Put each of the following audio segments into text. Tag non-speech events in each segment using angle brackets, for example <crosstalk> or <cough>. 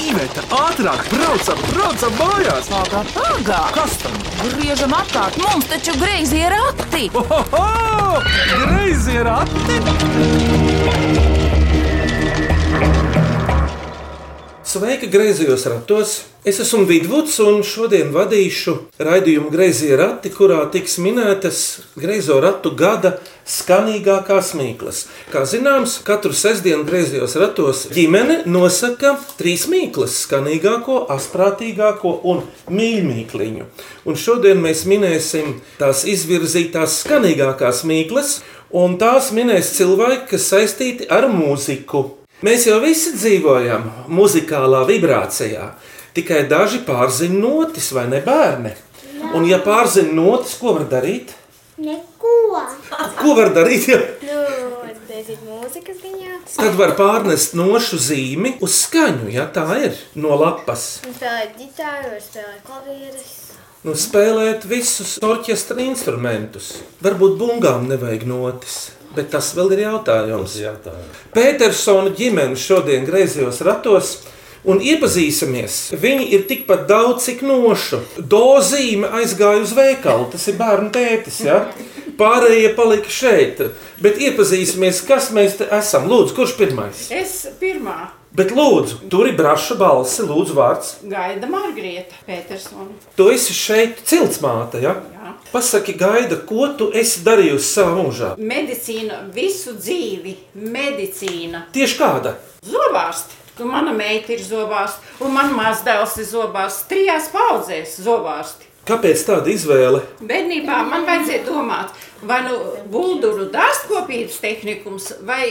Iveta, ātrāk, braucam, braucam mājās! Pagā, pagā! Kas tam? Griežam apkārt, mums taču greizi ir akti! Ohoho! Greizi ir ati! Sveiki, grazījos ratos! Es esmu Vidvuds, un šodien vadīšu raidījumu Grazīja rati, kurā tiks minētas grazo ratu gada skanīgākās mīklas. Kā zināms, katru sestdienu grazījos ratos ģimene nosaka trīs mīklas - skanīgāko, asprātīgāko un mīļākliņu. Un šodien mēs minēsim tās izvirzītās skanīgākās mīklas, un tās minēs cilvēki, kas saistīti ar mūziku. Mēs jau visi dzīvojam muzikālā vibrācijā. Tikai daži pārzina notis, vai ne bērni? Un, ja pārzina notis, ko var darīt? Neko. Ko var darīt? Ja? Nu, dzirdēt mūzikas ziņā. Tad var pārnest nošu zīmi uz skaņu, ja tā ir no lapas. Un spēlēt ģitāru, var spēlēt klavierus. Nu, spēlēt visus orķestra instrumentus. Varbūt bungām nevajag notis, bet tas vēl ir jautājums. Petersona ģimene šodien griezījos ratos. Un iepazīsimies. Viņi ir tikpat daudz, cik nošu. Dozīme aizgāja uz veikalu, tas ir bērnu tētis. Ja? Pārējie palika šeit. Bet iepazīsimies, kas mēs te esam. Lūdzu, kurš pirmais? Es pirmā Bet lūdzu, tur ir braša balss, lūdzu, vārds. gaida Margarita Petersona. Tu esi šeit ciltsmāte, ja? Jā. Pasaki, gaida, ko tu esi darījusi savā mūžā? Medicīna visu dzīvi, medicīna. Tieši kāda? Zobārsti. Un mana meita ir zobārsts, un mana mazdēls ir zobārsts. Trijās paudzēs zobārsti. Kāpēc tāda izvēle? Bērnībā man vajadzēja domāt, vai nu bulduru dārzkopības tehnikums vai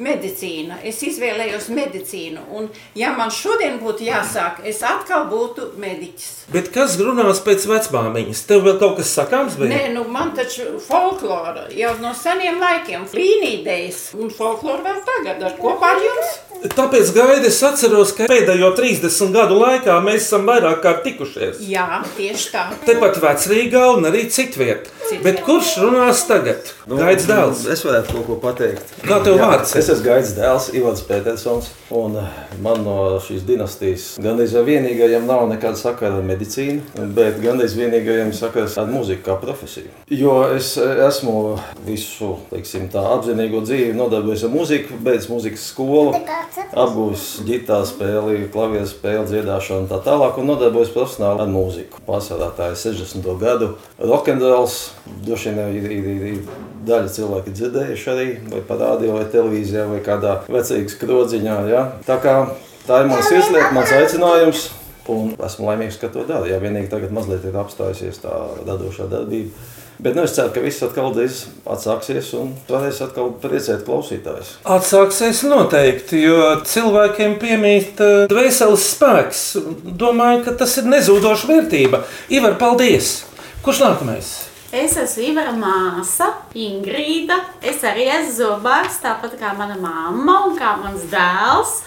medicīna. Es izvēlējos medicīnu, un ja man šodien būtu jāsāk, es atkal būtu mediķis. Bet kas runās pēc vecmāmiņas? Tev vēl kaut kas sakāms bija? Nē, nu man taču folklora jau no seniem laikiem līnijas, un folklora vēl tagad ar kopā ar jums. Tāpēc gaida es atceros, ka pēdējo 30 gadu laikā mēs esam vairāk kārt tikušies. Jā, tieši tā. Tepat vecrīgā un arī citviet. Citviet. Bet kurš runās tagad? Nu, Gaids dēls. Es varētu kaut ko pateikt. Kā tev vārds? Es esmu Gaidis dēls, Ivans Petersons. Un eh, man no šīs dinastijas gandrīz vai vienīgajam nav nekāda sakara ar medicīnu, bet gandrīz vienīgajam ir sakars ar mūziku kā profesiju. Jo es eh, esmu visu teiksim, tā, apzinīgo dzīvi nodarbojies ar mūziku, beidz mūzikas skolu, apgūs ģitāru spēli, klavieru spēli, dziedāšanu un tā tālāk, un nodarbojos profesionāli ar mūziku. Pārsvarā tā ir 60. gadu rokenrols. Droši vien ir, ir, ir, ir daļa cilvēki dzirdējuši arī vai parādīju, vai televīzijā, vai kādā vecīgas krodziņā. Ja? Tā, kā, tā ir mans ieslēgums, mans aicinājums. Un esmu laimīgs, ka to daru. Jā, vienīgi tagad mazliet ir apstājusies tā radošā darbība. Bet nu, es ceru, ka viss atkal drīz atsāksies un varēs atkal priecēt klausītājus. Atsāksies noteikti, jo cilvēkiem piemīt eh, dvēseles spēks. Domāju, ka tas ir nezūdoša vērtība. Ivar, paldies! Kurš nākamais? Es esmu Ivara māsa, Ingrīda. Es arī esmu zobārs, tāpat kā mana mamma un kā mans dēls. <laughs>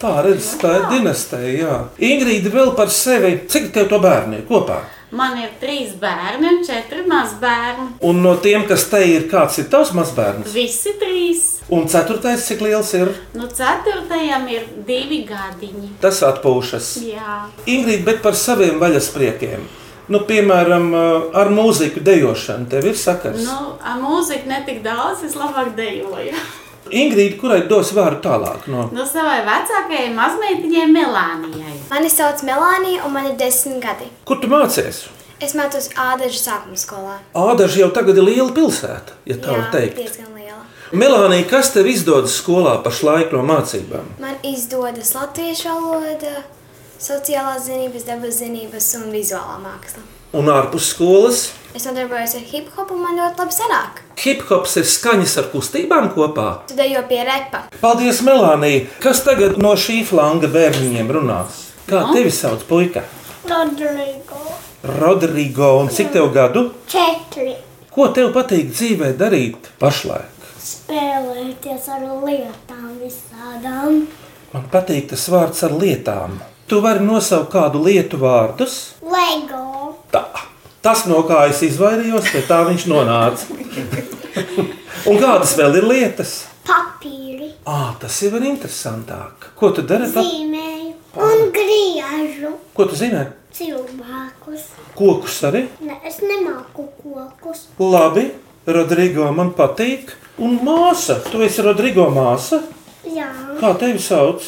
Tā redz, tā ir dinastija. jā. Ingrīda vēl par sevi. Cik tev to bērnu ir kopā? Man ir trīs bērni un četri mazbērni. Un no tiem, kas te ir, kāds ir tavs mazbērns? Visi trīs. Un ceturtais, cik liels ir? Nu, ceturtajam ir divi gadiņi. Tas atpūšas. Jā, Ingrīda, bet par saviem vaļaspriekiem. Nu, piemēram, eh, ar mūziku dejošanu tev ir sakars. nu, ar mūziku netik daudz, es labāk dejoju. <laughs> Ingrīda, kurai dos vārdu tālāk? No? Nu, savai vecākajai mazmeitiņai Melānijai. Mani sauc Melānija, un man ir desmit gadi. Kur tu mācies? Es mācos Ādažu sākuma skolā. Ādaži jau tagad ir liela pilsēta, ja tā var teikt. diezgan liela. Melānija, kas tev izdodas skolā pašlaik no mācībām? Man izdodas latviešu valoda, sociālās zinības, dabas zinības un vizuālā māksla. Un ārpus skolas Es nodarbojos ar hip hopu, un man ļoti labi sanāk. hip hops ir skaņas ar kustībām kopā. Tu dejo pie repa. Paldies, Melānija! Kas tagad no šī flanga bērniņiem runās? Kā tevi sauc, puika? Rodrigo. Rodrigo, un cik tev gadu? Četri. Ko tev patīk dzīvē darīt pašlaik? Spēlēties ar lietām visādām. Man patīk tas vārds ar lietām. Tu vari nosaukt kādu lietu vārdus. Lego. Tā. Tas, no kā es izvairījos, pie tā viņš nonāca. Un kādas vēl ir lietas? Papīri. Ah, tas jau ir interesantāk. Ko tu dari? pa- Zīmēju. griežu Ko tu zini? cilvēkus. Kokus arī? Ne, es nemāku kokus. Labi, Rodrigo man patīk. Un māsa, tu esi Rodrigo māsa. Jā, Kā tevi sauc?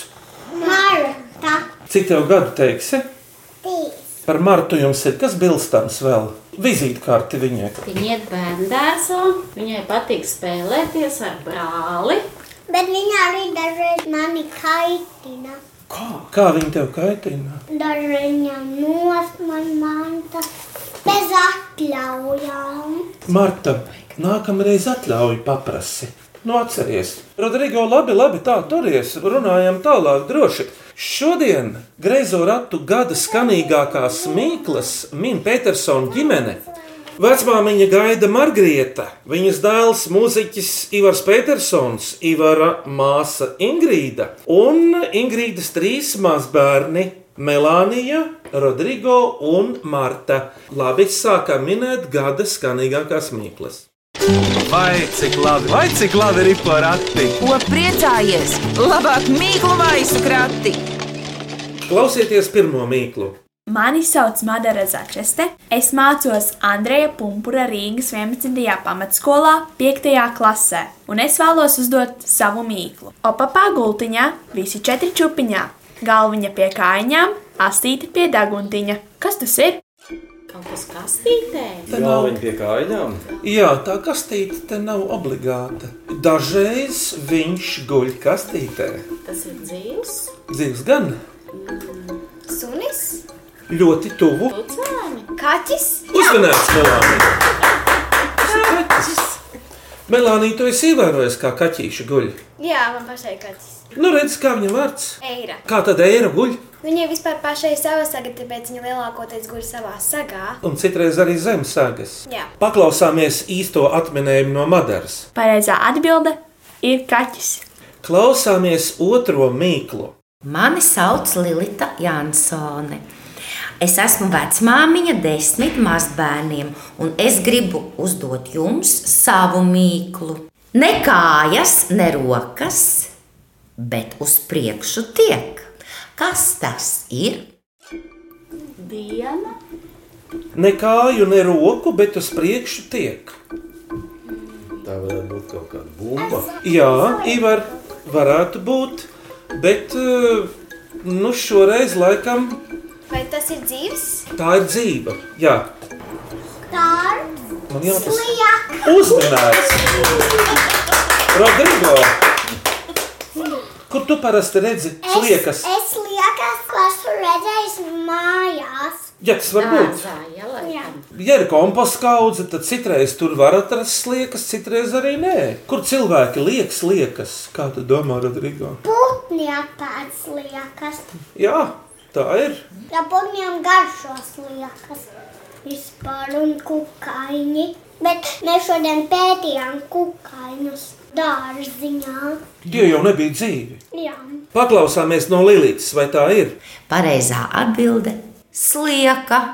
Marta. Cik tev gadu teiksi? Tīs. Par Martu jums ir kas bilstams vēl? Vizītkārti viņai. Viņa iet bērndērzā, viņai patīk spēlēties ar brāli. Bet viņa arī dažreiz mani kaitina. Kā? Kā viņa tev kaitina? Dažreiz viņa nos man manta. Bez atļaujām. Marta, nākamreiz atļauj paprasti. Nu, atceries, Rodrigo, labi, labi, tā turies, runājam tālāk, droši. Šodien greizo ratu gada skanīgākās mīklas min Petersona ģimene. Vecmāmiņa gaida Margarita, viņas dēls mūziķis Ivars Petersons, Ivara māsa Ingrīda un Ingrīdas trīs mazbērni Melānija, Rodrigo un Marta. Labi, sākam minēt gada skanīgākās mīklas. Vai cik labi, vai cik labi ir porati? Ko priecājies? Labāk mīklu maisu krati! Klausieties pirmo mīklu. Mani sauc Madara Zakreste. Es mācos Andreja Punkūra Rīgas 11. pamatskolā, 5. klasē, un es vēlos uzdot savu mīklu. Opapā gultiņā visi četri čūpiņā, galviņa pie kājām, astīti pie daguntiņa. Kas tas ir? Kaut kas kastītē. Jā, viņi pie kājām. Jā, tā kastīte te nav obligāta. Dažreiz viņš guļ kastītē. Tas ir dzīves. Dzīves gan Sunis? ļoti tuvu. Pucēni. Kaķis? Uzmanīgs, Melānija! Tas ir kaķis. Melānija, tu esi ievērojusi, kā kaķīši guļ. Jā, man pašai kaķis. Nu, redz, kā viņa vārds. Eira. Kā tad eira guļ, Viņai vispār pašai sava saga, tāpēc viņa lielākoties guļ savā sagā. un citreiz arī zem sagas. Jā. Paklausāmies īsto atminējumu no Madaras. Pareizā atbilde ir kaķis. Klausāmies otro mīklu. Mani sauc Lilita Jansone. Es esmu vecmāmiņa desmit mazbērniem, un es gribu uzdot jums savu mīklu. Ne kājas, ne rokas, bet uz priekšu tiek. Kas tas ir? Diena. Ne kāju, ne roku, bet uz priekšu tiek. Tā varētu būt kaut kāda bumba. Jā, Ivar, varētu būt, bet eh, nu, šoreiz laikam Vai tas ir dzīves? tā ir dzīve. Jā, Kārt. man jāpasaka. Jā. Uzmanīgs! Rodrigo! Kur tu parasti redzi sliekas? Es, es liekas, ko esmu redzējis mājās. Jā, tas var būt. Dārzā, jā, laikam. Ja ir komposta kaudze, tad citreiz tur var atrast sliekas, citreiz arī nē. Kur cilvēki liek sliekas? Kā tu domā, Rodrigo? Putni apēdz liekas. Jā, tā ir. Ja putniem garšos liekas. Vispār un kukaiņi. Bet mēs šodien pētījām kukaiņus dārziņā. Tie jau nebija dzīvi. Jā. Paklausāmies no Lilijas, vai tā ir? Pareizā atbilde - slieka.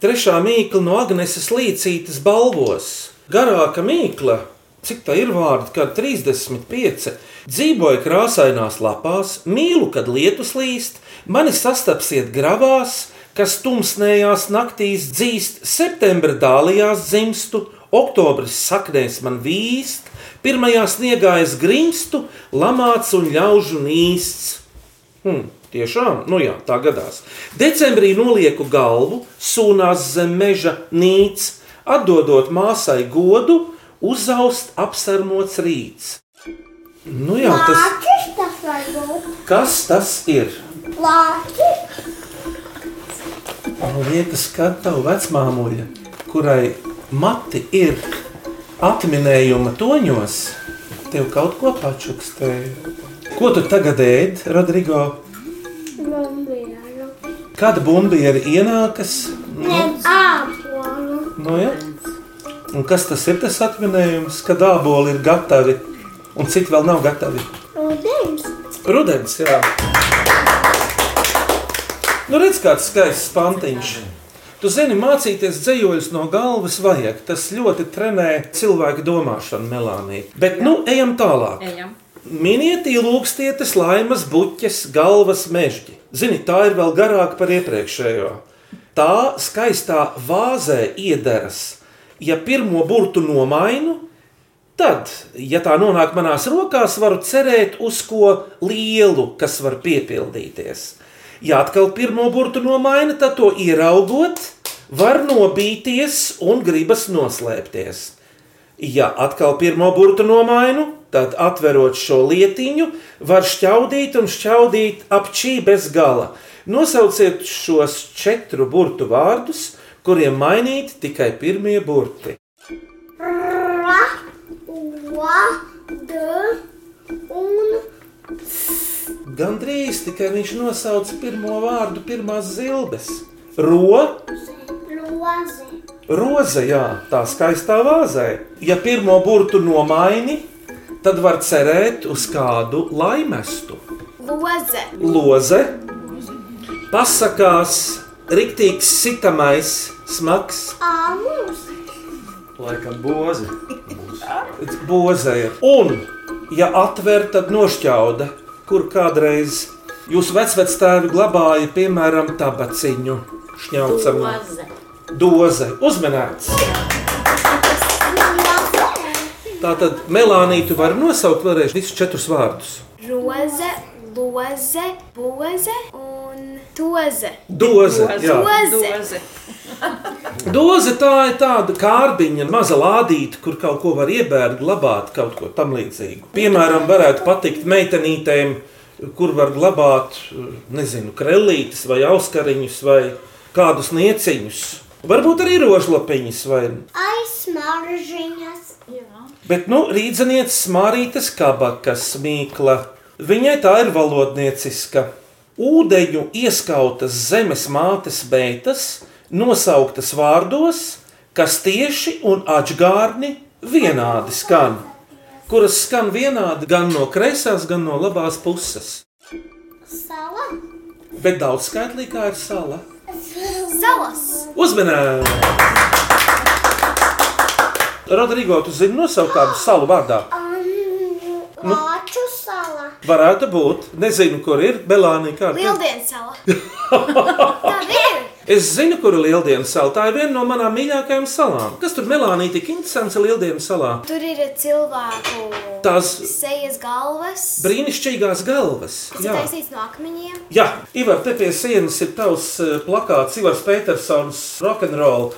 Trešā mīkla no Agnēses līcītes balvos. Garāka mīkla, cik tā ir vārdi, kā 35. Dzīvoja krāsainās lapās, mīlu, kad lietus līst, mani sastapsiet gravās, kas tumsnējās naktīs dzīst, septembra dālijās dzimstu, oktobris saknēs man vīst, pirmajā sniegā es grimstu, lamāts un ļaužu nīsts. Hmm, tiešām, nu jā, tā gadās. Decembrī nolieku galvu, sūnās zem meža nīca, atdodot māsai godu, uzaust apsarmots rīts. Nu jā, tas, Lāčis tas var būt. kas tas ir? Lāčis. Man liekas, ka tava vecmāmuļa, kurai mati ir atminējuma toņos, tev kaut ko pačukstēja. Ko tu tagad ēd, Rodrigo? Bombieru. Kad bumbieri ienākas? Ne, ābolu. Nu, ja. Un kas tas ir tas atminējums, kad dāboli ir gatavi un citi vēl nav gatavi? Rudens. Rudenis, jā. Nu, redz, kāds skaists pantiņš. Tu zini, mācīties dzējoļus no galvas vajag. Tas ļoti trenē cilvēku domāšanu, Melānija. Bet, nu, ejam tālāk. Ejam. Miniet, ielūkstieties laimas, buķes, galvas mežģi. Zini, tā ir vēl garāka par iepriekšējo. Tā skaistā vāzē iederas. Ja pirmo burtu nomainu, tad, ja tā nonāk manās rokās, varu cerēt uz ko lielu, kas var piepildīties. Ja atkal pirmo burtu nomaina, tad to ieraugot, var nobīties un gribas noslēpties. Ja atkal pirmo burtu nomainu, tad atverot šo lietiņu, var šķaudīt un šķaudīt apčī bez gala. Nosauciet šos četru burtu vārdus, kuriem mainīti tikai pirmie burti. Ra, ua, d un Gan drīz tikai viņš nosauca pirmo vārdu, pirmās zilbes. Ro, loze. roze, jā, tā skaistā vāzē. Ja pirmo burtu nomaini, tad var cerēt uz kādu laimestu. Loze. Loze, pasakās, riktīgs sitamais, smags, Alus. Laikam bozi. bozēja. Un, ja atver, tad nošķauda, kur kādreiz jūsu vecvectēvi glabāja, piemēram, tabaciņu. Šņaucamu Loze. doze uzmanīts. Tā tad Melānija, tu vari nosaukt vēlreiz visus četrus vārdus. Roze, loze, boze un toze. Doze, jā. Doze. Doze tā ir tāda kārbiņa, maza lādīte, kur kaut ko var iebērt, glabāt kaut ko tam līdzīgu. Piemēram, varētu patikt meitenītēm, kur var glabāt, nezinu, krellītes vai auskariņus vai kādus nieciņus. Varbūt arī rožlapiņas vai. Aizsmaržiņas. Bet, nu, rīdzenieca smārītas kabakas mīkla. Viņai tā ir valodnieciska. Ūdeņu ieskautas zemes mātes beitas, nosauktas vārdos, kas tieši un atgārni vienādi skan, kuras skan vienādi gan no kreisās, gan no labās puses. Sala. Bet daudz skaitlīgākā ir sala. Salas. Uzmanīgi! Rodrigo, tu zini nosaukt kādu salu vārdā? Um, Lāču sala. Varētu būt. Nezinu, kur ir Belānija kārta. Lieldienas sala. Tā ir. Es zinu, kur ir Lieldienas sala. Tā ir viena no manām mīļākajām salām. Kas tur Melānija tik interesants ir Lieldienas salā? Tur ir cilvēku Tās sejas galvas. brīnišķīgās galvas. Tas ir Jā. taisīts no akmeņiem. Jā, Ivar, te pie sienas ir tavs eh, plakāts, Ivars Petersons, rock'n'roll.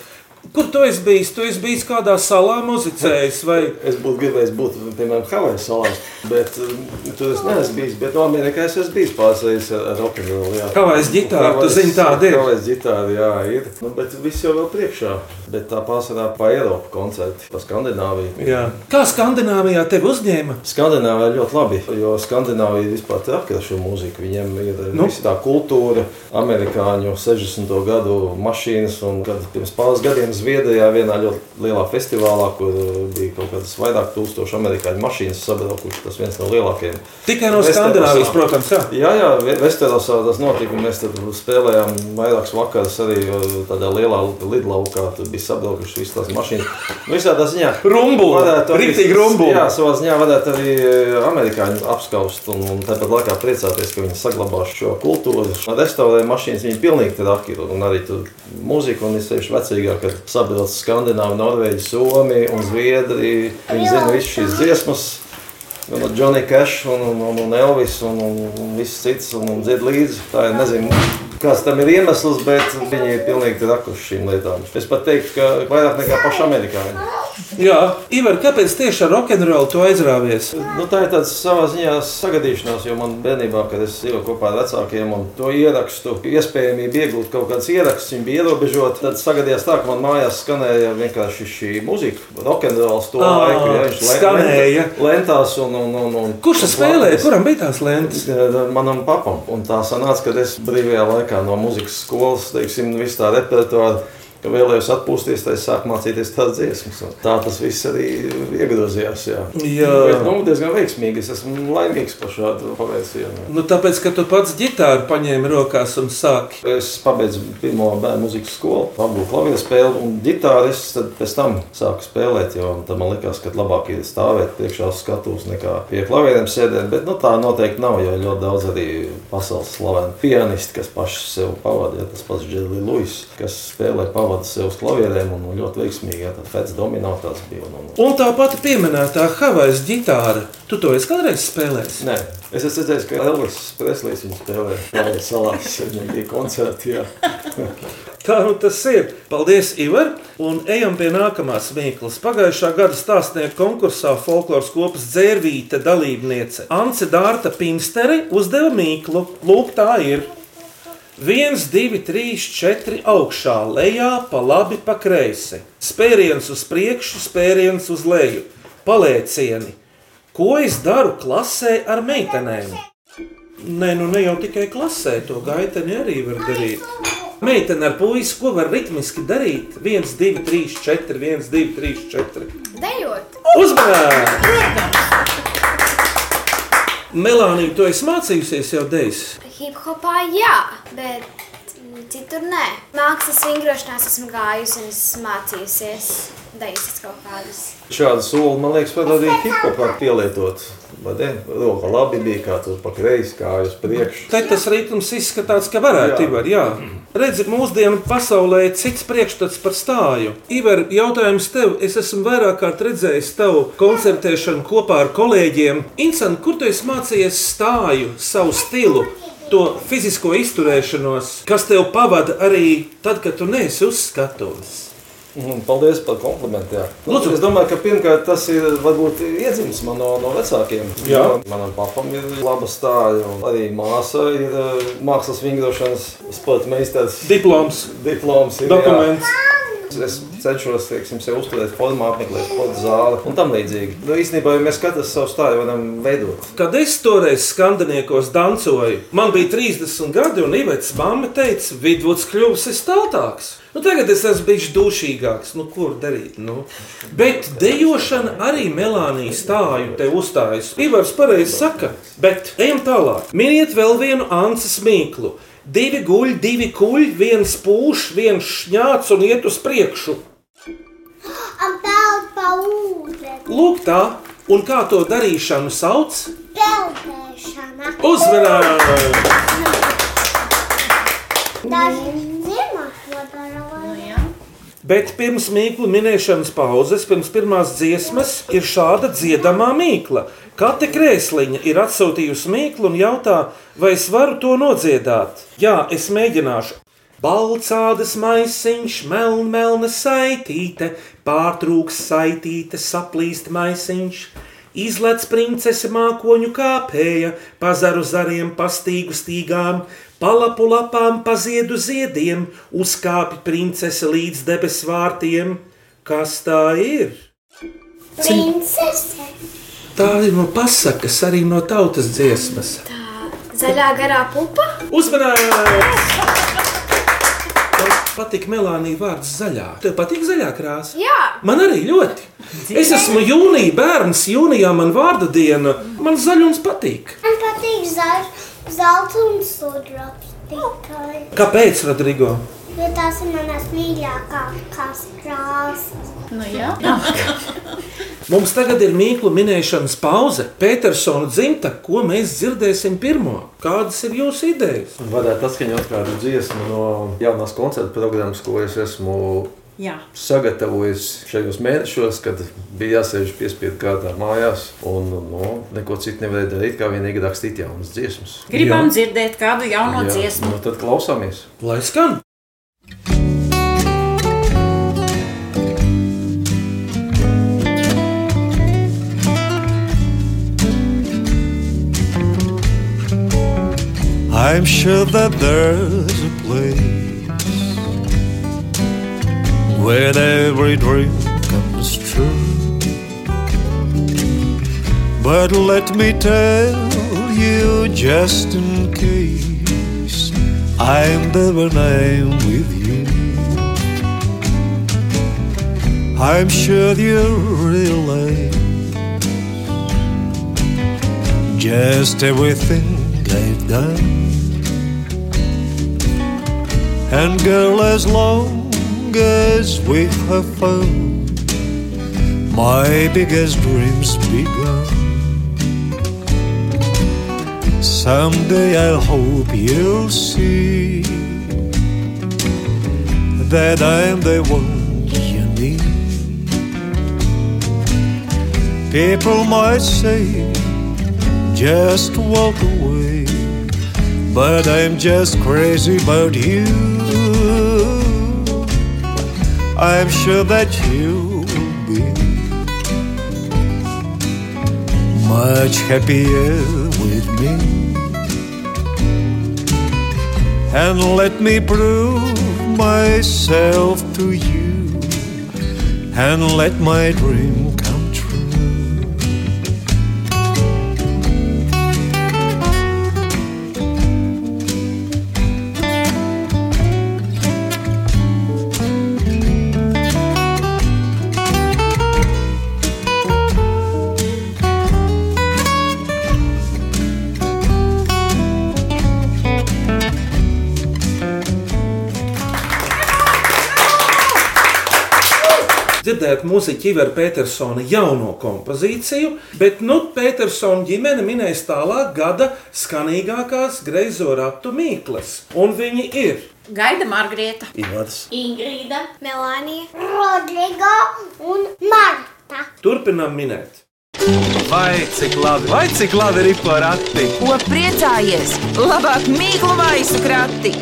Kur tu esi bijis? Tu esi bijis kādā salā muzicējis vai Es būtu gribējis būt, piemēram, Havaju salās, bet um, tur es neesmu bijis. Bet Amerikā es esmu bijis pārsteigts ar rokenrolu. Havajas ģitāra, tu zini, tāda ir. Havaju ģitāra, jā, ir. Nu, bet viss jau vēl priekšā. Bet tā pārsvarā pa Eiropu koncerti, pa Skandināviju. Jā. Kā Skandināvijā tevi uzņēma? Skandināvija ir ļoti labi, jo Skandināvija vispār ir apgabala šo mūziku. Viņiem ir nu? tā kultūra, amerikāņu 60. gadu mašīnas, un kad pirms pāris gadiem Zviedrijā vienā ļoti lielā festivālā, kur eh, bija kaut kādas vairāk tūkstoši amerikāņu mašīnas sabraukušas, tas viens no lielākajiem. Tikai no Skandināvijas, protams. Jā. Jā, jā, Ve- Vesterosā tas notika. un Mēs tur spēlējām vairākus vakarus arī uh, tādā lielā lidlaukā. Tur bija sabraukušas visas tās mašīnas. Nu, Visādā ziņā Rumbuli, varētu arī- rītīgi rumbuli. Jā, savā ziņā varētu arī uh, amerikāņi apskaust un, un tāpat laikā priecāties, ka viņi saglabās šo kultūru. Restaurē mašīnas viņi pilnīgi tur apkiro un arī tur mūziku un es sevišķi vecīgāk, kad sabrauc Skandināvi, Norvēģi, Somi un Zviedri. Viņi zina visu šīs dziesmas. Un ar Johnny Cash, un, un, un, un Elvis, un, un, un viss cits, un, un dzied līdzi. Tā ir nezinu, kāds tam ir iemesls, bet viņi ir pilnīgi rakuši šīm lietām. Es pat teiktu, ka vairāk nekā paši amerikāņi. jā. Ivar, kāpēc tieši ar rock'n'roll tu aizrāvies? Nu, tā ir tāda savā ziņā sagadīšanās, jo man bērnībā, kad es dzīvoju kopā ar vecākiem, un to ierakstu, iespējamība iegūt kaut kādas ierakstus, viņi bija ierobežoti. Tad sagadījās tā, ka man mājās skanēja vienkārši šī muzika, rokenrols to Ā, laiku. ja, viņš le- Ah, skanēja. Lentās un, un, un, un Kurš tas spēlēja? Kuram bija tās lentes? Tas eh, manam papam. Un tā sanāca, ka es brīvajā laikā no muzikas skolas, teiksim, visu tā repertuāru. ka vēlējos atpūsties, tad es sāku mācīties tādas dziesmas. Un tā tas viss arī iegrozījās. Jā, Jā. Bet, nu, diezgan veiksmīgi. Es esmu laimīgs par šādu pavērsienu. Nu, tāpēc, ka tu pats ģitāru paņēmi rokās un sāki. Es pabeidzu pirmo bērnu muzikas skolu, apgūstu klavieru spēli un ģitāru. Es tad pēc tam sāku spēlēt, jo tam man likās, ka labāk ir stāvēt priekšā uz skatuves nekā pie klavieriem sēdēt. Bet nu, tā noteikti nav, jo ļoti daudz arī pasaules slavenu pianistu, kas paši sev pavadīja. Tas pats Džēlis Luis, kas spēlē pavadu sev uz klavierēm un, un ļoti veiksmīgi. Jā, tad Fets dominētās bija. Un, un, Un tā pati pieminētā Havajas ģitāra. Tu to esi kādreiz spēlējis? Nē, es esmu redzējis, ka Elvis Preslīs viņa spēlē Klavieru salās. Viņam bija koncerti. Jā. Tā nu tas ir. Paldies, Ivar! Un ejam pie nākamās mīklas. Pagājušā gada stāstnieku konkursā folkloras kopas dzērvīta dalībniece Anse Dārta Pinstere uzdeva mīklu. Lūk, tā ir. 1, 2, 3, 4 augšā, lejā, pa labi, pa kreisi. Spēriens uz priekšu, spēriens uz leju. Paliecieni. Ko es daru klasē ar meitenēm? Nē, nu ne jau tikai klasē, to gaiteni arī var darīt. Meitene ar puisi, ko var ritmiski darīt? 1, 2, 3, 4, 1, 2, 3, 4. Dejot! Uzmanīgi! Melānija, tu esi mācījusies jau dejas. Hip-hopā jā, bet mm, citur nē. Mākslas vingrošanās esmu gājusi un esmu mācījusies. Daisas kaut kādas. Šādu soli, man liekas, var arī hipopā pielietot. Vai ne? eh, Roka labi bija, kā tur pa kreisi, kā uz priekšu. Te tas rītums izskatās, ka varētu, Jā. Ivar, jā. Redzi, mūsdienu pasaulē ir cits priekšstats par stāju. Ivar, jautājums tev, es esmu vairāk kārt redzējis tavu koncertēšanu kopā ar kolēģiem. Insan, kur tu esi mācījies stāju, savu stilu, to fizisko izturēšanos, kas tev pavada arī tad, kad tu neesi uz skatuves? Un Mhm, paldies par komplimentu. jā. Nu, Lūdzu. es domāju, ka pirmkārt tas ir varbūt iedzimis man no, no vecākiem. Jā. Jo Manam papam ir laba stāja, un arī māsa ir eh, mākslas vingrošanas sporta meistars. Diploms, Diploms ir jā. dokuments. Es cenšos teiksim, sev uzturēt formā, apmeklēt sporta zāli un tam līdzīgi. Nu, īstenībā, ja mēs katrs savu stāju varam veidot, Kad es toreiz skandiniekos dancoju, man bija 30 gadi, un Ivets mamma teica, vidusceļš kļūs stāvāks. Nu, tagad es esmu bijis dušīgāks, nu, kur darīt. Nu? Bet dejošana arī melānija stāju te uzstājas. Ivars pareizi saka, bet ejam tālāk. Miniet vēl vienu Anses mīklu. Divi guļ, divi kuļi, viens pūš, viens šņāts un iet uz priekšu. Un peld pa ūdeni. Lūk, tā, un kā to darīšanu sauc? Peldēšana. Uzmanīgi! Daži zina, ko dara lojā. Bet pirms mīklu minēšanas pauzes, pirms pirmās dziesmas, ir šāda dziedamā mīkla. Katra krēsliņa ir atsūtījusi mīklu un jautā, vai es varu to nodziedāt. Jā, es mēģināšu. Balcādas maisiņš, melna, melna saitīte, pārtrūks saitīte, saplīst maisiņš. Izlec princese mākoņu kāpēja, pazaru zariem, pastīgu stīgām, palapu lapām, paziedu ziediem, uzkāpi princese līdz debesu vārtiem. Kas tā ir? Princese. Tā ir no pasakas, arī no tautas dziesmas. Zaļā garā pupa. Uzmanības! Man patīk melānija vārds zaļā. Tev patīk zaļā krāsa? Jā, Man arī ļoti. Es esmu jūnija bērns, jūnijā man vārda diena. Man zaļums patīk. Man patīk zaļ, zelta un sudrabs tikai. Kāpēc, Rodrigo? Jo tās ir manas mīļākās krāsas. Nu, jā. Mums tagad ir mīklu minēšanas pauze. Petersona dzimta, ko mēs dzirdēsim pirmo? Kādas ir jūsu idejas? Varētu atskaņot kādu dziesmu no jaunās koncerta programmas, ko es esmu Jā. sagatavojis šajos mēnešos, kad bija jāsēž piespiedu kārtā mājās. Un, no, neko citu nevarēja darīt, kā vienīgi rakstīt jaunas dziesmas. Gribam dzirdēt kādu jaunu dziesmu. nu, tad klausāmies. Lai skan! I'm sure that there's a place where every dream comes true. But let me tell you, just in case, I'm never name with you. I'm sure you realize just everything I've done. And girl, as long as we have fun, my biggest dreams begun. Someday I'll hope you'll see that I'm the one you need. People might say, just walk away, but I'm just crazy about you. I'm sure that you'll be much happier with me. And let me prove myself to you and let my dream come true. dzirdēt muziķi Iveru Petersona jauno kompozīciju, bet nu Petersona ģimene minēs tālāk gada skanīgākās greizo ratu mīklas. Un viņi ir Gaida Margarita. Ivars. Ingrīda, Melānija, Rodrigo un Marta. Turpinām minēt. Vai cik labi, vai cik labi ir porakti? Ko priecājies? Labāk mīklu maisu krati!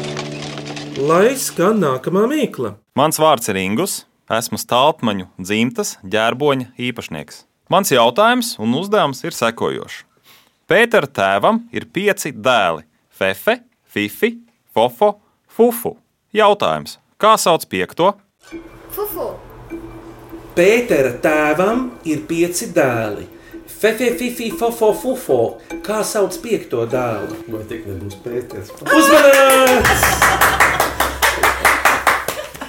Lai skan nākamā mīkla. Mans vārds ir Ingus, esmu stāpmaņu dzimtas ģērboņa īpašnieks. Mans jautājums un uzdevums ir sekojošs. Pētera tēvam ir pieci dēli - Fefe, Fifi, Fofo, Fufu. Jautājums, kā sauc piekto? Fufu, Pētera tēvam ir pieci dēli. Fefe, fifi, fofo, fufo. Kā sauc piekto dēlu? Vai tik nebūs pēters? Uzmanības!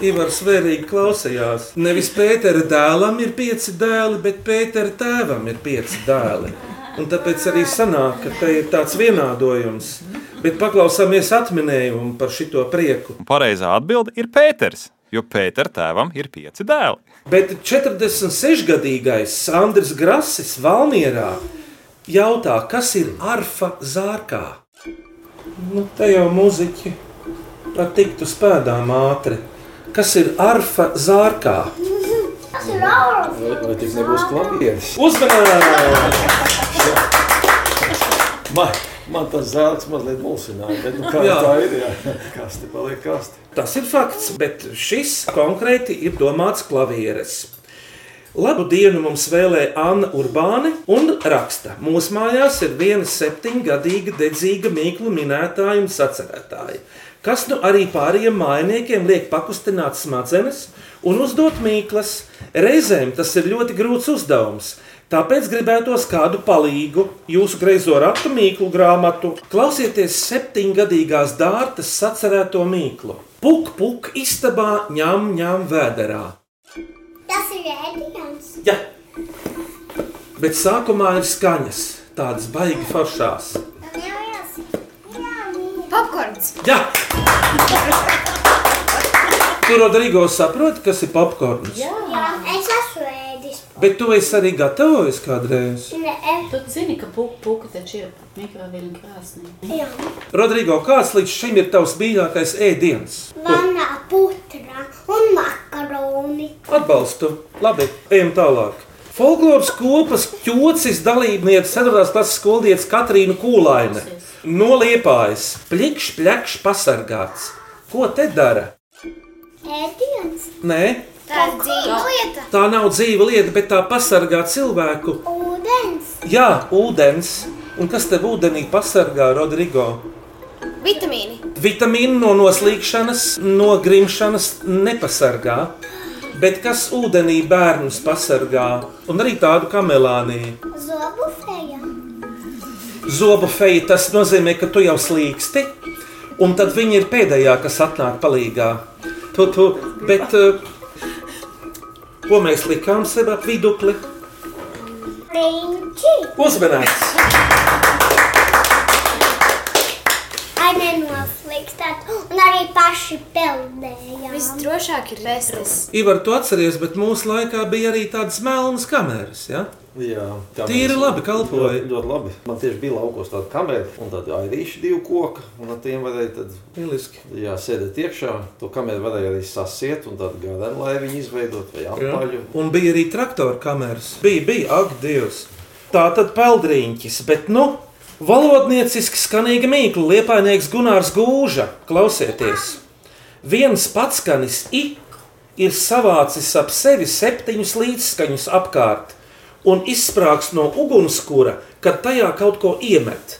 Ivars vērīgi klausījās. Nevis Pētera dēlam ir pieci dēli, bet Pētera tēvam ir pieci dēli. Un tāpēc arī sanāk, ka te ir tāds vienādojums. Bet paklausāmies atminējumu par šito prieku. Pareizā atbilde ir Pēters, jo Pētera tēvam ir pieci dēli. Bet 46-gadīgais Andris Grasis Valmjerā jautā, kas ir arfa zārkā? Nu, te jau muzeķi var tikt uz pēdām ātri. Kas ir arfa zārkā? Tas ir Aurora. Vai, vai tik nebūs klavieris? Uzmanības! Man, man tas zelts mazliet mulsināja, bet nu kā Jā. tā ir, jā. Kasti paliek kasti. Tas ir fakts, bet šis konkrēti ir domāts klavieres. Labu dienu mums vēlēja Anna Urbāne un raksta. Mūsu mājās ir viena septiņgadīga dedzīga mīklu minētāja un sacerētāja, kas nu arī pārējiem mājiniekiem liek pakustināt smadzenes un uzdot mīklas. Reizēm tas ir ļoti grūts uzdevums, tāpēc gribētos kādu palīgu, jūsu greizo ratu mīklu grāmatu. Klausieties septiņgadīgās dārtas sacerēto mīklu. Puk, puk, istabā, ņem, ņem, vēderā. Tas ir Edgars. Jā, bet sākumā ir skaņas, tādas baigas foršās. popkorns, Jā, tur Rodrigo saprot, kas ir popkorns. Jā, es esmu ēdis. Bet tu esi arī gatavojis kādreiz. Nē, Tu zini, ka puka, puka taču ir mikroviļņu krāsnī. jā. Rodrigo, kāds līdz šim ir tavs mīļākais ēdiens? Manā putra un makaroni. Atbalstu. Labi, ejam tālāk. Folkloras kopas ķocis dalībniece 4. klases skolniece Katrīna Kūlaine. Noliepājas, plikšs, plikšs, pasargāts. Ko te dara? Ēdienas. Nē, tā ir dzīva lieta. tā nav dzīva lieta, bet tā pasargā cilvēku. Ūdens. Jā, ūdens. Un kas tev ūdenī pasargā, Rodrigo? Vitamīni, Vitamīnu no noslīkšanas, no grimšanas nepasargā. Bet kas ūdenī bērnus pasargā? Un arī tādu kā melānija. Zobu feja. zobu feja, tas nozīmē, ka tu jau slīksti. Un tad viņi ir pēdējā, kas atnāk palīdzīgā. Tu, tu, bet, eh, Ko mēs likām sev ap vidukli? Riņķi. Uzmanīgs! Ai, nenofliks tādu. Un arī paši peldējām. Visdrošāk ir vestes. Ivar, tu atceries, bet mūsu laikā bija arī tādas melnas kameras. Ja? Jā, Tīri labi kalpoja. Ļoti, ļoti labi. Man tieši bija laukos tāda kamera un tāda airīša divu koka. Un ar tiem varēja tad, Lieliski. jā, sēdēt iekšā. To kameru varēja arī sasiet un tādu gādēnu laiviņu izveidot vai Jā. apaļu. Un bija arī traktora kameras. Bija, bija, ak, Dievs. Tā tad peldriņķis, bet nu, valodnieciski skanīga mīkla, liepainieks Gunārs Gūža. Klausieties, viens pats skanis I ir savācis ap sevi septiņus līdzskaņus apkārt un izsprāgs no ugunskura, kad tajā kaut ko iemet.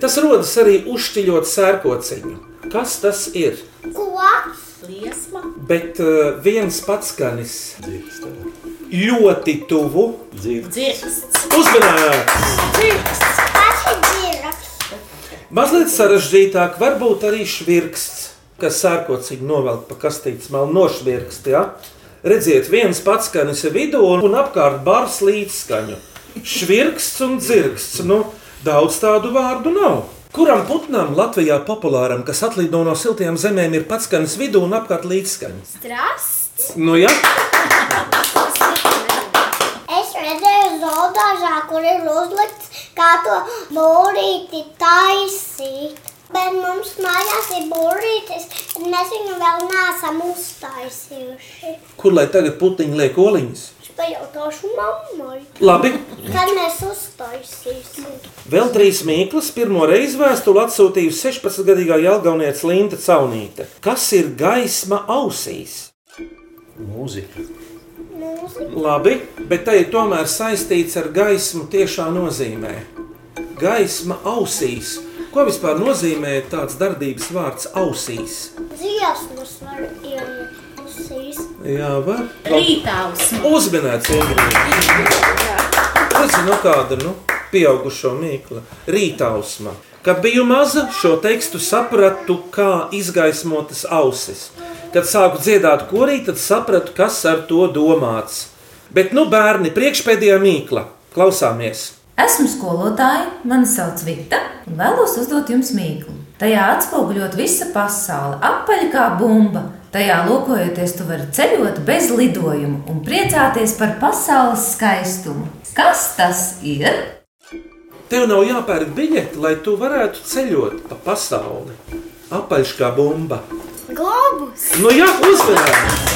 Tas rodas arī uzšķiļot sērkociņu. Kas tas ir? Ko? Liesma. Bet uh, viens pats skanis ļoti tuvu dzīves. Dzirksts. Uzmanīgs! Paši dziraks. Mazliet sarežģītāk, varbūt arī švirksts, kas sērkociņu novelk pa kastītes malu nošvirkst. Ja? Redziet, viens pats skanis ir vidū un, un apkārt bars līdzskaņu. Švirksts un dzirksts. Nu, daudz tādu vārdu nav. Kuram putnam Latvijā populāram, kas atlido no siltajām zemēm, ir pats skanis vidū un apkārt līdzskaņas? Strasts. Nu, ja? Es redzēju zoodāžā, kur ir uzlikts, kā to būrīti taisīt. Bet mums mājās ir būrītis, un mēs viņu vēl neesam uztaisījuši. Kur lai tagad putiņi liek oliņas? Es pajautāšu mammai, Labi, kad mēs uztaisīsim. Vēl trīs mīklas pirmo reizi vēstuli atsūtījusi 16-gadīgā Jālgaunieca Linda Caunīte. Kas ir gaisma ausīs? Mūzika. Mūzika. Labi, bet tai ir tomēr saistīts ar gaismu tiešā nozīmē. Gaisma ausīs. Ko vispār nozīmē tāds darbības vārds ausīs? Dziesmas var ielikt ausīs. Jā, var. Rītāvs. Uzminēts Ingrīds. Tas ir no kāda nu, pieaugušo mīkla. Rītausma. Kad biju maza, šo tekstu sapratu kā izgaismotas ausis. Kad sāku dziedāt korī, tad sapratu, kas ar to domāts. Bet nu, bērni, priekšpēdējā mīkla. Klausāmies! Esmu skolotāja, mani sauc Vita, un vēlos uzdot jums mīklu. Tajā atspoguļot visa pasaule, apaļ kā bumba. Tajā lokojoties, tu vari ceļot bez lidojuma un priecāties par pasaules skaistumu. Kas tas ir? Tev nav jāpērk biļete, lai tu varētu ceļot pa pasauli. Apaļš kā bumba. Globus. Nu, jā, uzmanīgi!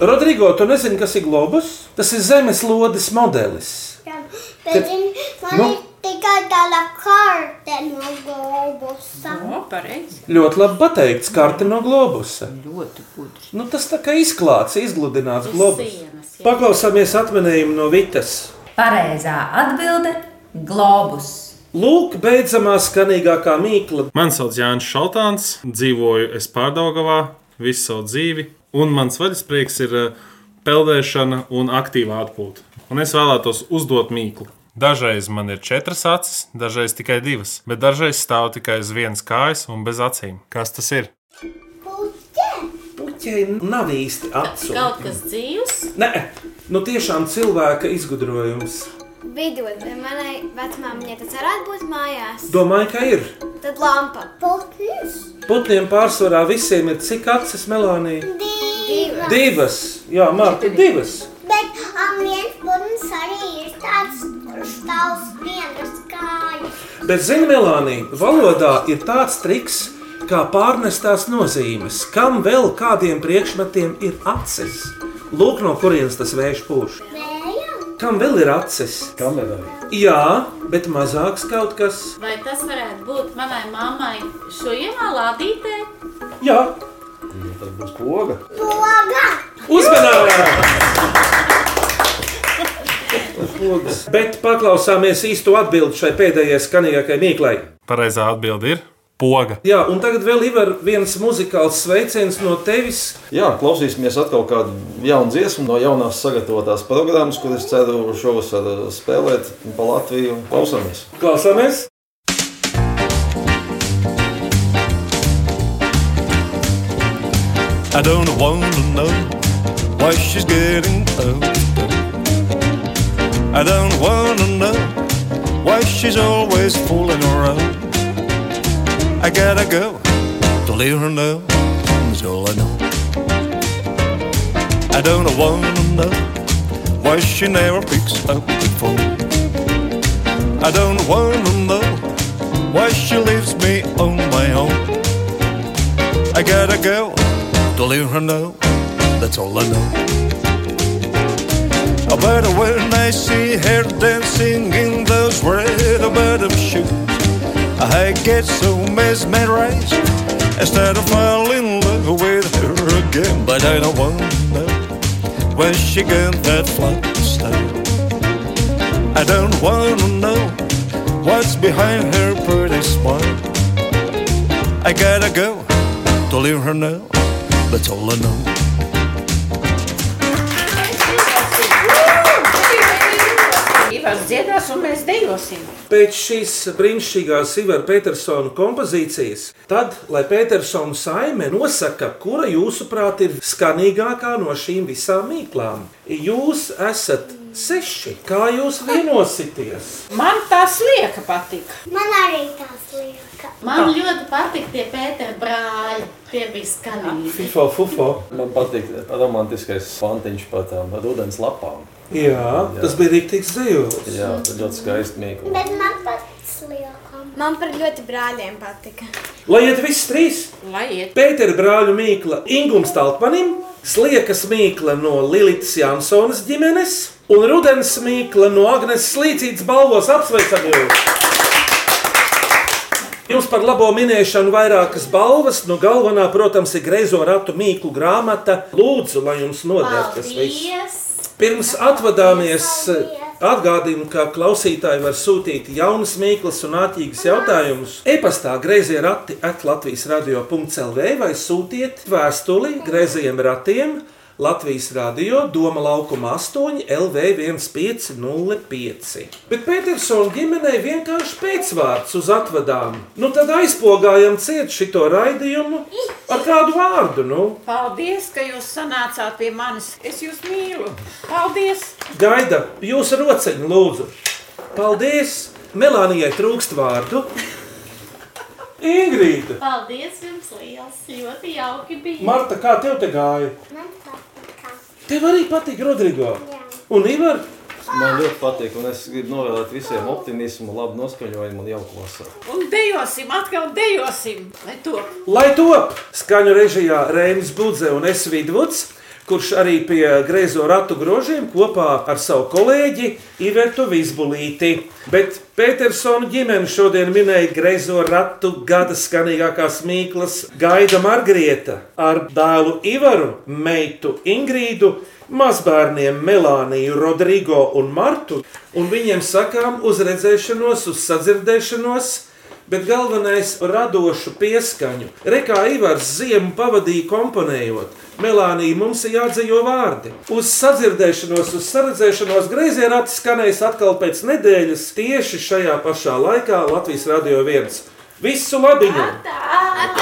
Rodrigo, tu nezini, kas ir globus? Tas ir zemeslodes modelis. Jā, Bet zini, man Nu. ir tikai tāda karte no globusa. Pareizi. Ļoti labi pateikts, karte no globusa. Ļoti gudri. Nu, tas tā kā izklāts, izgludināts Uz globus. sienas, jā. Paklausāmies atminējumu no Vitas. Pareizā atbilde - globus. Lūk, beidzamā skanīgākā mīkla. Mani sauc Jānis Šaltāns, dzīvoju es Pārdaugavā visu savu dzīvi, un mans vaļasprieks ir eh, peldēšana un aktīva atpūta. Un es vēlētos uzdot mīklu. Dažreiz man ir četras acis, dažreiz tikai divas, bet dažreiz stāv tikai uz vienas kājas un bez acīm. Kas tas ir? Puķei nav īsti Kaut atsūtīts. kas dzīves. Nē, nu tiešām cilvēka izgudrojums. Vidot, manai vecmāmiņai tas varētu būt mājās. Domāju, ka ir. Tad lampa. Putns. Putniem pārsvarā visiem ir cik acis melānija? Divas. Divas, jā, Marta, divas. Bet am, viens putns arī ir tāds, kurš tavs vienas kājas. Bet, zinot, Melānija, valodā ir tāds triks, kā pārnestās nozīmes, kam vēl kādiem priekšmetiem ir acis. Lūk, no kurienes tas vējš pūš. Kam vēl ir acis? Kamerai. Jā, bet mazāks kaut kas. Vai tas varētu būt manai mammai šo iemālādītē? Jā, Tad būs poga. Poga! uzmanīgi! Bet paklausāmies īsto atbildi šai pēdējai skanīgākajai mīklai. Pareizā atbilde ir poga. Jā, un tagad vēl ir viens muzikāls sveiciens no tevis, Jā, klausīsimies atkal kādu jaunu dziesmu no jaunās sagatavotās programmas, kuras ceru šovasar eh, spēlēt pa Latviju. Klausāmies! Klausāmies! I don't wanna know why she's getting older. I don't wanna know why she's always fooling around. I gotta go to leave her know. That's all I know. I don't wanna know why she never picks up the phone. I don't wanna know why she leaves me on my own. I gotta go to leave her know. That's all I know. Oh, But when I see her dancing in those red bottom shoes, I get so mesmerized. I start to fall in love with her again, but I don't wanna know where she got that flat style. I don't wanna know what's behind her pretty smile. I gotta go to leave her now. That's all I know. Ivars dziedās, un mēs dejosim. Pēc šīs brīnišķīgās Ivara Petersona kompozīcijas, tad, lai Petersona saime nosaka, kura jūsuprāt ir skanīgākā no šīm visām mīklām, jūs esat seši. Kā jūs vienosieties? Man tas lieka patika. Man arī tās liekas. Man ļoti patīk tie pēteri brāļi. Tie bija skanīgi. Fufo, fufo. Man patīk romantiskais pantiņš par tām ūdens lapām. Jā, tas bija rīktīgs dzīvs. Jā, tas ļoti skaisti mīklu. Bet man pats liekam. Man par ļoti brāļiem patika. Lai iet viss trīs! Lai iet. Pētera brāļu mīkla Ingūns Taltmanim, sliekas mīkla no Lilijas Jansonas ģimenes un rudens mīkla no Agnes Līcītas balvos apsveicam jūs! Jums par labo minēšanu vairākas balvas. Nu, galvenā, protams, ir greizo ratu mīklu grāmata. Lūdzu, lai jums noder tas viss! Pirms atvadāmies, eh, atgādījumu, ka klausītāji var sūtīt jaunas, mīklas un ātrīgas jautājumus. E-pastā grazījā rati atlatvijas radio.clv vai sūtiet vēstuli grazījiem ratiem Latvijas radio Doma laukuma 8 LV1505. Bet Petersona ģimenei vienkārši pēcvārds uz atvadām. Nu tad aizpogājam ciet šito raidījumu ar kādu vārdu, nu? Paldies, ka jūs sanācāt pie manis. Es jūs mīlu. Paldies! Gaida, jūsu rociņu lūdzu. Paldies! Melānijai trūkst vārdu. Ingrīda! Paldies jums liels! Ļoti jauki bija. Marta, kā tev te gāja? Tev arī patīk Rodrigo. Un Ivar, Man ļoti patīk, un es gribu novēlēt visiem optimismu, labu noskaņojumu un jauku vasaru. Un dejosim, atkal dejosim! Lai to! lai top skaņu režijā Rēnis Budze un es Vidvuds, kurš arī pie griezo ratu grožiem kopā ar savu kolēģi Ivertu Vizbulīti. Bet Petersona ģimene šodien minēja griezo ratu gada skanīgākās mīklas Gaida Margrieta ar dēlu Ivaru, meitu Ingrīdu. Mazbērniem Melāniju, Rodrigo un Martu, un viņiem sakām uz redzēšanos, uz sadzirdēšanos, Bet galvenais ir radošu pieskaņu. Rekā Ivars ziemu pavadīja komponējot. Melānija mums ir jādzīvo vārdi. Uz sadzirdēšanos, uz saredzēšanos grazījā atskanēs atkal pēc nedēļas tieši šajā pašā laikā Latvijas Radio 1. Visu labiņu! Tā!